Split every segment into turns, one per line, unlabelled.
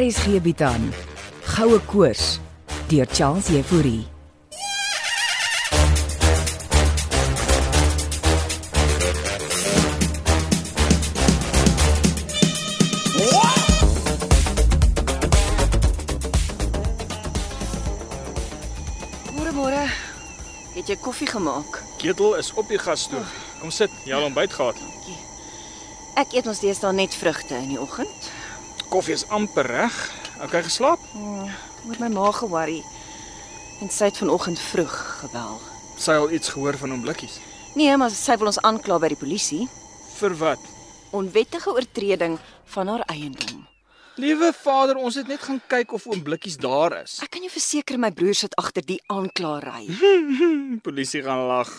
RSG bied aan Goue Koors deur Charles Euphorie.
Môre môre. Het jy koffie gemaak?
Ketel is op die gasstoof. Kom sit, jy al ontbyt gehad.
Ek eet ons deesdae net vrugte in die oggend.
Koffie is amper reg. Okay, geslaap?
Oor my maag ge-worry. En sy het vanoggend vroeg gebel.
Sy al iets gehoor van hom blikkies.
Nee, maar sy wil ons aankla by die polisie.
Vir wat?
Onwettige oortreding van haar eiendom.
Liewe Vader, ons het net gaan kyk of oom blikkies daar is.
Ek kan jou verseker my broer sit agter die aanklaery.
Die polisie gaan lag.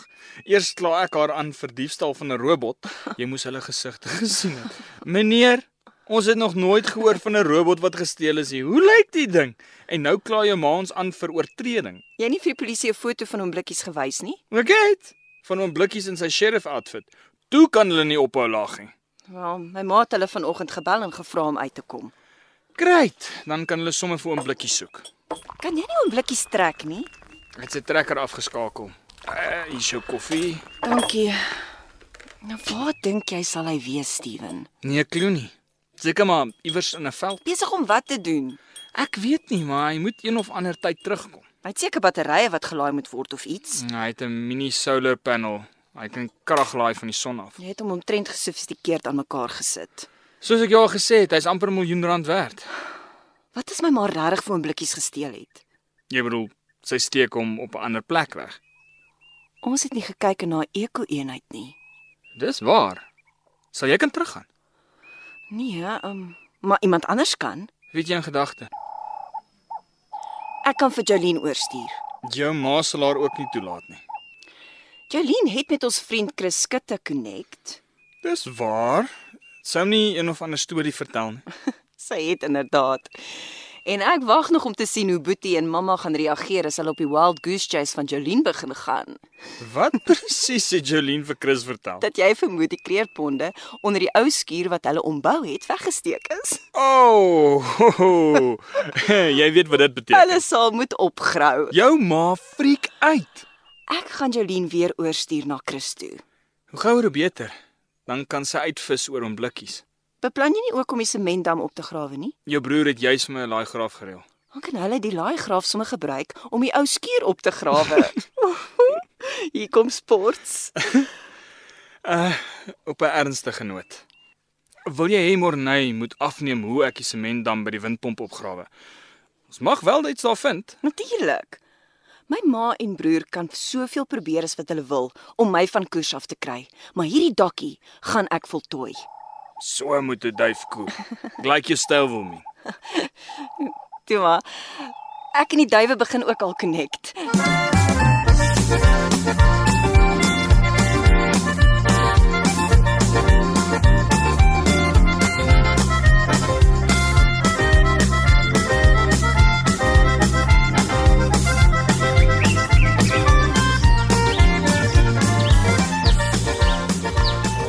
Eers kla ek haar aan vir diefstal van 'n robot. Jy moes hulle gesigte gesien het. Meneer, ons het nog nooit gehoor van 'n robot wat gesteel is nie. Hoe lyk die ding? En nou kla jou ma ons aan vir oortreding.
Jy het nie vir die polisie 'n foto van hom blikkies gewys nie?
Ek het van hom blikkies in sy sheriff outfit. Toe kan hulle nie ophou lag nie.
Ja, my ma het hulle vanoggend gebel en gevra om uit te kom.
Great, dan kan hulle sommer vir 'n blikkie soek.
Kan jy nie hom blikkies trek nie?
Hy het sy trekker afgeskakel. Uh, hier is jou koffie.
Dankie. Nou waar dink jy sal hy wees, Steven?
Nee, klou nie. Seker maar iewers in 'n veld.
Besig om wat te doen?
Ek weet nie, maar hy moet een of ander tyd terugkom.
Hy het seker batterye wat gelaai moet word of iets.
Mm, Hy het 'n mini solar panel. Hy kan krag laai van die son af.
Jy het hom omtrent gesofistikeerd aan mekaar gesit.
Soos ek jou al gesê het, hy's amper 'n miljoen rand werd.
Wat as my ma regtig vir hom blikkies gesteel het?
Jy bedoel, sy steek hom op 'n ander plek weg.
Ons het nie gekyk na 'n eko-eenheid nie.
Dis waar. Sal jy kan teruggaan?
Nee, ehm, um, maar iemand anders kan.
Weet jy in gedagte?
Ek kan vir Jolene oorstuur.
Jou ma sal haar ook nie toelaat nie.
Jolene het met ons vriend Chris Skutte connect.
Dis waar. Sou nie een of ander storie vertel nie.
Sy het inderdaad. En ek wag nog om te sien hoe Boetie en Mamma gaan reageer as hulle op die wild goose chase van Jolene begin gaan.
Wat presies het Jolene vir Chris vertel?
Dat jy vermoed die kreerponde onder die ou skuur wat hulle ombou het weggesteek is.
O, oh, oh, jy weet wat dit beteken.
Hulle sal moet opgrou.
Jou ma friek uit.
Ek gaan Jolien weer oorstuur na Chris toe.
Hoe gouer hoe beter. Dan kan sy uitvis oor hom blikkies.
Beplan jy nie ook om die sementdam op te grawe nie?
Jou broer het juis my 'n laai graf gereël.
Dan kan hulle die laaigraaf sommer gebruik om die ou skuur op te grawe. Hier kom sports.
Op 'n ernstige noot. Wil jy hê Morney moet afneem hoe ek die sementdam by die windpomp opgrawe? Ons mag wel iets daar vind.
Natuurlik. My ma en broer kan soveel probeer as wat hulle wil om my van koers af te kry, maar hierdie dokkie gaan ek voltooi.
So moet 'n duif koop. Gelyk jou styl wil my.
Toe maar. Ek en die duwe begin ook al connect.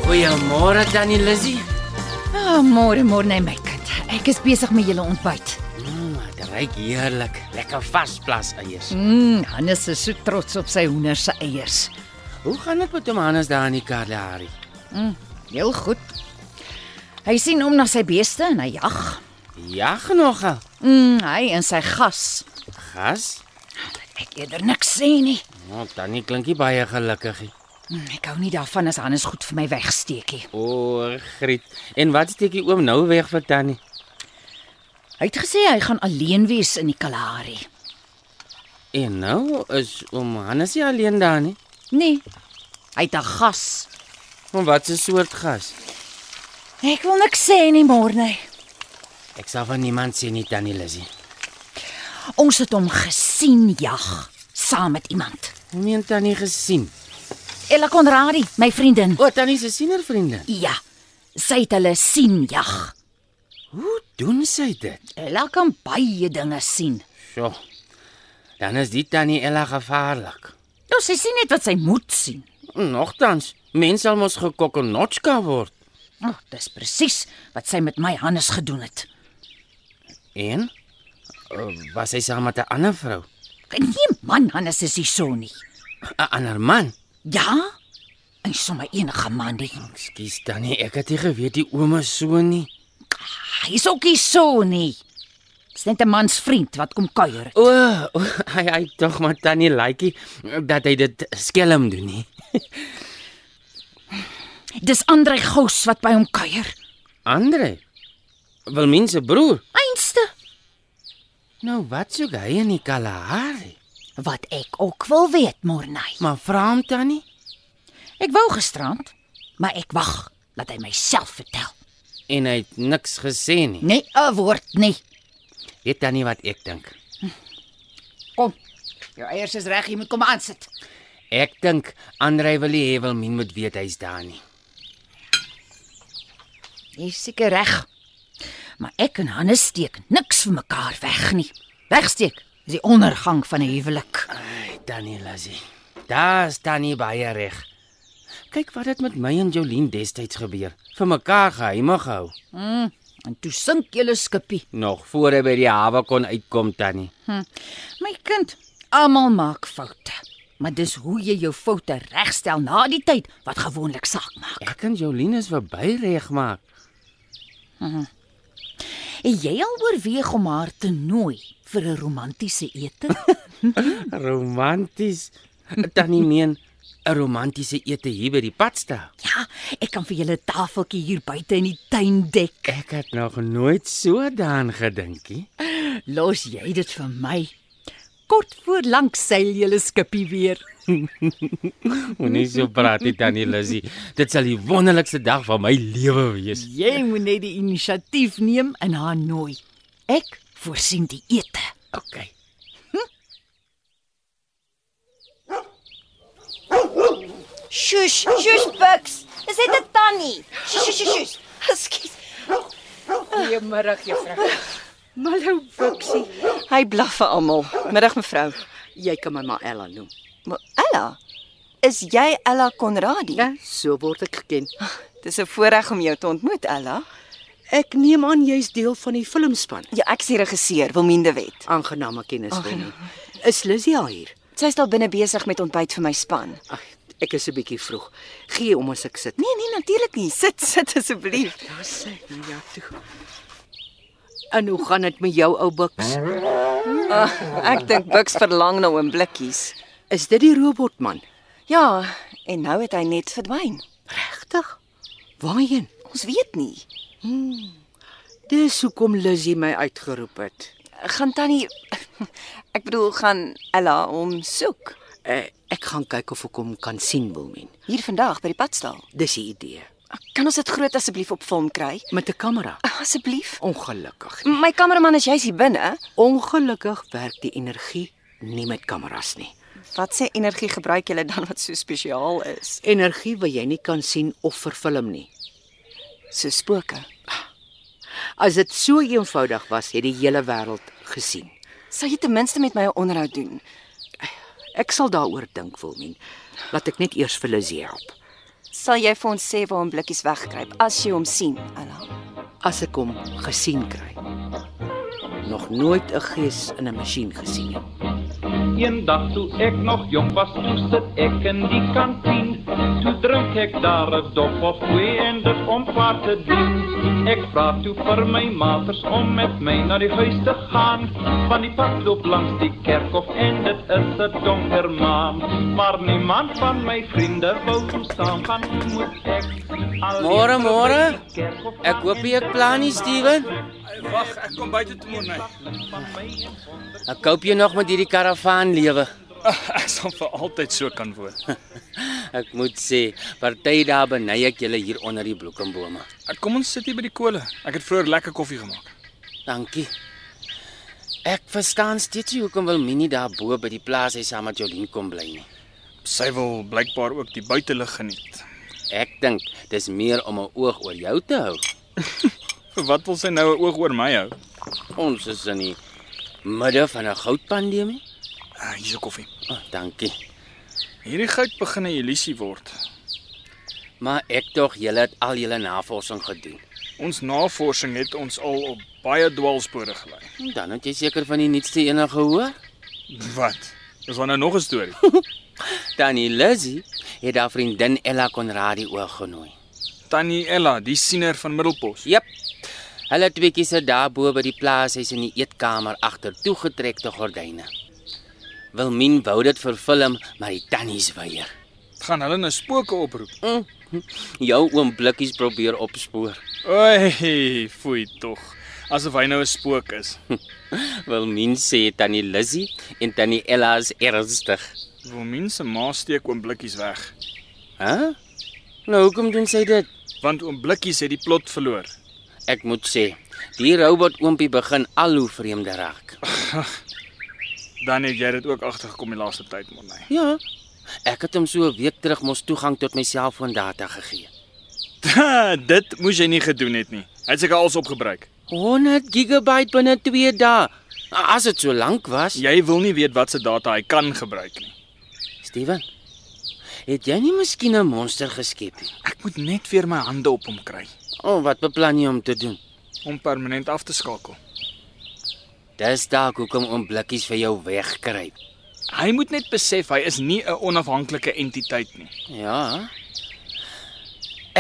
Goeiemôre Tannie Lizzie.
Ah, môre môre nee my kind. Ek is besig met julle ontbyt.
Mmm, dit ruik heerlik. Lekker vasplas eiers.
Mm, Hannes is so trots op sy hoender se eiers.
Hoe gaan dit met hom Hannes daar in die Kalahari?
Heel goed. Hy sien om na sy beeste en hy jag.
Jag nogal.
Mm, hy en sy gas.
Gas?
Ek eerder niks sê nie.
Nou, Tannie klink nie baie gelukkigie.
Mm, ek hou nie daarvan as Hannes goed vir my wegsteekie.
O, Griet. En wat steek die oom nou weg vir Tannie?
Hy het gesê hy gaan alleen wees in die Kalahari.
En nou is oom Hannes nie alleen daar nie.
Nee. Hy het 'n gas.
Maar wat 'n soort gas?
Ek wil niks sê nie môre nee. nie.
Ek sal van niemand sien nie, Tannie Lizzie.
Ons het hom gesien jag saam met iemand.
Hoe meen Tannie gesien?
Ella Conradi, my vriendin.
O, Tannie se siener vriende.
Ja. Sy het hulle sien jag.
Hoe doen sy dit?
Ella kan baie dinge sien.
Sjoe. Dan is die tannie Ella gevaarlik.
Nou sy sien net wat sy moet sien.
Nogtans, mense sal mos gekokkenotska word.
Ag, oh, dis presies wat sy met my Hannes gedoen het.
En Eh, was hy saam met 'n ander vrou?
Nee man, Hannes is nie so nie.
'n Ander man.
Ja? En sommer enige man nie.
Ekskuus Tannie, ek het nie geweet die ouma so nie.
Hy is ook nie so nie. Dis net 'n mans vriend wat kom kuier.
O, o, hy hy tog maar Tannie Laitjie dat hy dit skelm doen nie.
Dis Andrei Gous wat by hom kuier.
Andre. Wil mense broer.
Einste
Nou wat soek hy in die Kalahari?
wat ek ook wil weet, Morney.
Maar vra hom Tannie.
Ek wou gisterand, maar ek wag laat hy myself vertel.
En hy het niks gesê nie.
Nee, 'n woord nie.
Weet Tannie wat ek dink?
Kom. Jou eiers is reg, jy moet kom aansit.
Ek dink Andre wil nie hê Wilmin moet weet hy's daar nie.
Jy's seker reg. Maar ek en Hannes steek niks vir mekaar weg nie. Wegsteek is die ondergang van 'n huwelik.
Ai, Tannie Lassie. Daar's Tannie baie reg. Kyk wat het met my en Jolien destyds gebeur. Vir mekaar geheime gehou.
Mm, En toe sink julle skippie.
Nog voor hy by die hawe kon uitkom Tannie.
My kind, almal maak foute. Maar dis hoe jy jou foute regstel na die tyd wat gewoonlik saak maak.
Ek en Jolien is verby regmaak.
Het jy al oorweeg om haar te nooi vir 'n romantiese ete?
Romanties. Tannie meen 'n romantiese ete hier by die padsta.
ja, ek kan vir julle 'n tafeltjie hier buite in die tuin dek.
Ek het nog nooit so daaraan gedink nie.
Los jy dit vir my? Kort voor lank seil julle skippie weer.
Moenie so praat nie Tannie Lizzie. Dit sal die wonderlikste dag van my lewe wees.
Jy moet net die inisiatief neem en haar nooi. Ek voorsien die ete.
OK.
Shush, shush Bucks. Dis net 'n tannie. Shush, shush, shush, shush. Ekskuus.
Goeiemôre, juffrou.
Hallo Bixie.
Hy blaf vir almal. Middag mevrou.
Jy kan my maar Ella noem.
Maar Ella, is jy Ella Konradi?
Ja, so word ek geken.
Dis 'n voorreg om jou te ontmoet, Ella.
Ek neem aan jy's deel van die filmspan.
Ja, ek sien regisseur Wilmien de Wet.
Aangename kennismaking.
ja.
Is Lizzie al hier?
Sy's al binne besig met ontbyt vir my span.
Ag, ek is 'n bietjie vroeg. Gee om as ek sit.
Nee, nee, natuurlik nie. Sit, sit asseblief.
Daar sê nou ja toe. En hoe gaan dit met jou ou Bix?
Ek dink Bux verlang na oom blikkies.
Is dit die robotman?
Ja, en nou het hy net verdwyn.
Regtig? Waarheen?
Ons weet nie.
Dis hoekom Lizzie my uitgeroep het.
Gaan tannie Ek bedoel gaan Ella hom soek
Uh, ek gaan kyk of ek hom kan sien, Wilmien.
hier vandag by die padstal.
Dis die idee.
Kan ons dit groot asseblief op film kry?
Met 'n kamera.
Asseblief.
Ongelukkig.
M- My kameraman is juis hier binne.
Ongelukkig werk die energie nie met kameras nie.
Wat se energie gebruik julle dan wat so spesiaal is?
Energie wat jy nie kan sien of verfilm nie.
So spooke.
As dit so eenvoudig was, het die hele wêreld gesien.
Sal jy ten minste met my 'n onderhoud doen?
Ek sal daaroor dink, Wilmien. Laat ek net eers vir Lizzie help.
Sal jy vir ons sê waar hom blikkies wegkruip as jy hom sien, Ella?
As ek hom gesien kry. Nog nooit 'n gees in 'n masjien gesien nie.
Eendag toe ek nog jong was, toe sit ek in die kantien. Toe drink ek daar 'n dop of twee en dit om paard te dien. Ek vra toe vir my maters om met my na die huis te gaan, want die pad loop langs die kerkhof en dit is 'n donker maan. Maar niemand van my vriende wou kom saam gaan, toe moet ek alleen
Môre, môre.
terug by die kerkhof
Ek
gaan
hoop
en
jy
dit
plan nie,
is
Steven.
Wag, ek kom buite toe môre.
van my en wonder.
Ek koop jy nog met hierdie karavaan lewe.
Ek sal vir altyd so kan woon.
Ek moet sê, party daar benei ek julle hier onder die bloekombome.
Ek kom ons sit hier by die kole. Ek het vroeër lekker koffie gemaak.
Dankie. Ek verstaan steeds nie hoekom wil Minnie daar bo by die plaas hy saam met Jolien kom bly nie.
Sy wil blykbaar ook die buitelug geniet.
Ek dink dis meer om 'n oog oor jou te hou.
Vir wat wil sy nou 'n oog oor my hou?
Ons is in die midde van 'n goudpandemie.
Ah, hier's jou koffie.
Oh, dankie.
Hierdie goud begin 'n illusie word.
Maar ek tog julle het al julle navorsing gedoen.
Ons navorsing het ons al op baie dwaalspore gelei.
Dan het jy seker van die nuutste een gehoor?
Wat? Is daar nou nog 'n storie?
Tannie Lizzy het haar vriendin Ella Conradi oorgenooi.
Tannie Ella, die siener van Middelpos.
Jep. Hulle tweeetjies sit daarbo by die plaashuis in die eetkamer agter toegetrekte gordyne. Wilmien wou dit vervilm, maar die tannies weier.
Gaan hulle nou spooke oproep?
Jou oom Blikkies probeer opspoor.
Oei, foei tog. Asof hy nou 'n spook is.
Wilmien sê tannie Lizzy en tannie Ella is ernstig.
Wil mense ma steek oom blikkies weg,
Hæ? Huh? Nou hoekom doen sy dit?
want oom blikkies het die plot verloor.
Ek moet sê, die robot oompie begin al hoe vreemder raak.
Dan het jy dit ook agtergekom die laaste tyd, Monnie.
Ja. Ek het hom so 'n week terug mos toegang tot my selfoondata gegee.
nee. dit moes jy nie gedoen het nie. Hy het seker alles opgebruik.
100 gigabyte binne 2 dae. As dit so lank was.
Jy wil nie weet wat se data hy kan gebruik nie.
Steven. Het jy nie miskien 'n monster geskep nie?
Ek moet net weer my hande op hom kry
O, oh, wat beplan jy om te doen?
om permanent af te skakel.
Dis dalk hoekom oom blikkies vir jou wegkruip.
Hy moet net besef hy is nie 'n onafhanklike entiteit nie.
Ja.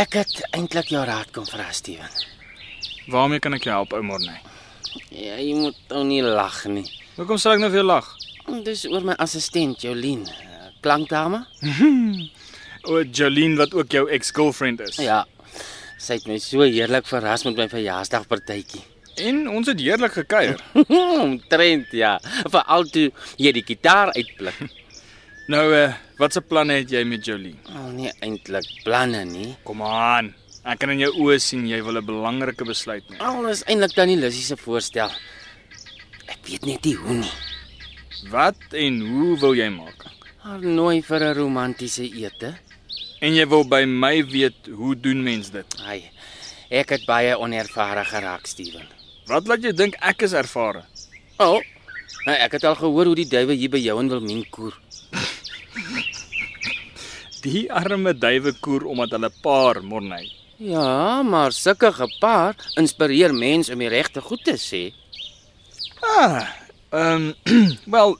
Ek het eintlik jou raad kom vra, Steven.
Waarmee kan ek jou help, ou Monnie?
Ja, jy moet nou nie lag nie.
Hoekom sal ek nou vir jou lag?
Dis oor my assistent Jolien, eh, klankdame?
O, Jolene wat ook jou ex-girlfriend is.
Ja. Sy het my so heerlik verras met my verjaarsdagpartytjie.
En ons het heerlik gekuier.
Omtrent ja, veral toe jy die gitaar uitblik.
Nou, uh, watse planne het jy met Jolene?
Al nie eintlik Oh, nee, planne nie.
Kom aan. Ek kan in jou oë sien jy wil 'n belangrike besluit neem.
Alles eintlik tannie Lissy se voorstel. Ek weet net nie hoe nie.
Wat en hoe wil jy maak?
Haar nooi vir 'n romantiese ete.
En jy wil by my weet hoe doen mens dit?
Ai. Ek het baie onervare geraak, Steven.
Wat laat jou dink ek is ervare?
O. Oh, ek het al gehoor hoe die duwe hier by jou in Wilmien koer.
Die arme duwe koer omdat hulle paar morney.
Ja, maar sulke gepaar inspireer mense om die regte goed te sê.
Ah. Ehm um, wel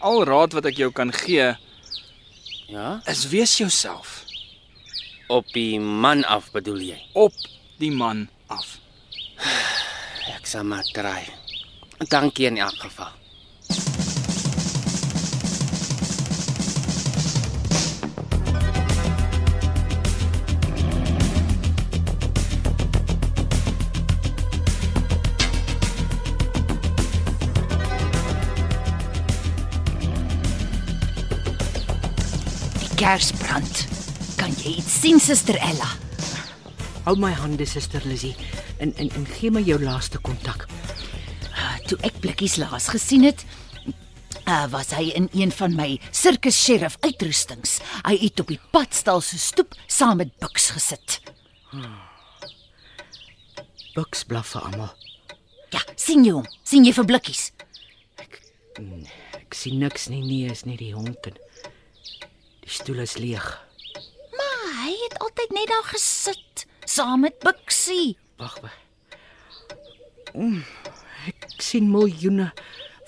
al raad wat ek jou kan gee
Ja,
is wees jouself
op die man af bedoel jy.
op die man af.
Ek sal maar try. Dankie in elk geval.
Die kers brand. Kan jy iets sien, Suster Ella?
Hou my hande, Suster Lizzie, en en en gee my jou laaste kontak.
Ah, Toe ek blikkies laas gesien het, uh, was hy in een van my sirkus sheriff uitrustings. Hy het op die padstal se stoep saam met Buks gesit.
Buks blaf vir almal.
Ja, sien jy hom? Sien jy vir blikkies?
Ek sien niks nie, nee, is nie die honk en die stoel is leeg.
Maar hy het altyd net daar gesit saam met Buksie.
Wag wag. Mm, ek sien miljoene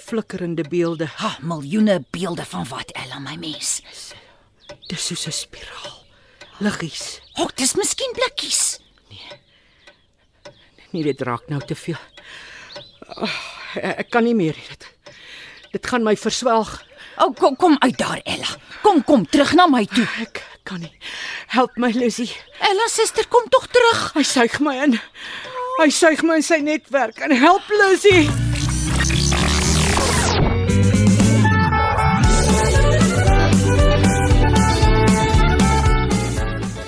flikkerende beelde.
Ha, miljoene beelde van wat Ella my mens.
Dis soos 'n spiraal. Liggies.
Hok, dis miskien blikkies.
Nee, dit raak nou te veel. Ag, ek kan nie meer dit. Dit gaan my verswelg.
O, oh, kom kom uit daar Ella. Kom kom terug na my toe.
Ek kan nie. Help my, Lucy.
Ella suster, kom tog terug.
Hy suig my in. Hy suig my in sy netwerk. En help Lucy.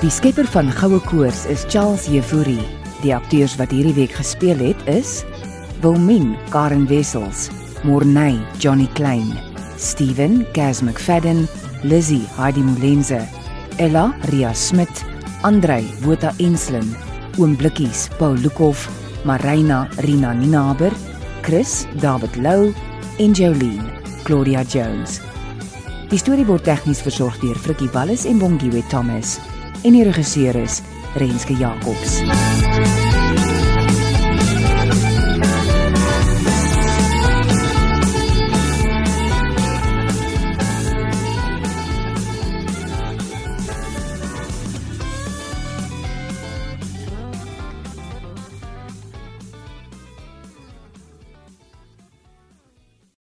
Die skepper van Goue Koors is Charles Jefouri. Die akteurs wat hierdie week gespeel het is Wilmien Karen Wessels, Morney Johnny Klein, Steven Gaz McFadden, Lizzie Heidi Molenze, Ella Ria Smit, Andrei Botha Enslin, Oom Blikkies Paul Lukhof, Marina Rina Ninaber, Chris David Lou en Jolene Claudia Jones. Die storie word tegnies versorg deur Frikkie Wallis en Bongwe Thomas en die regisseur is Renske Jacobs.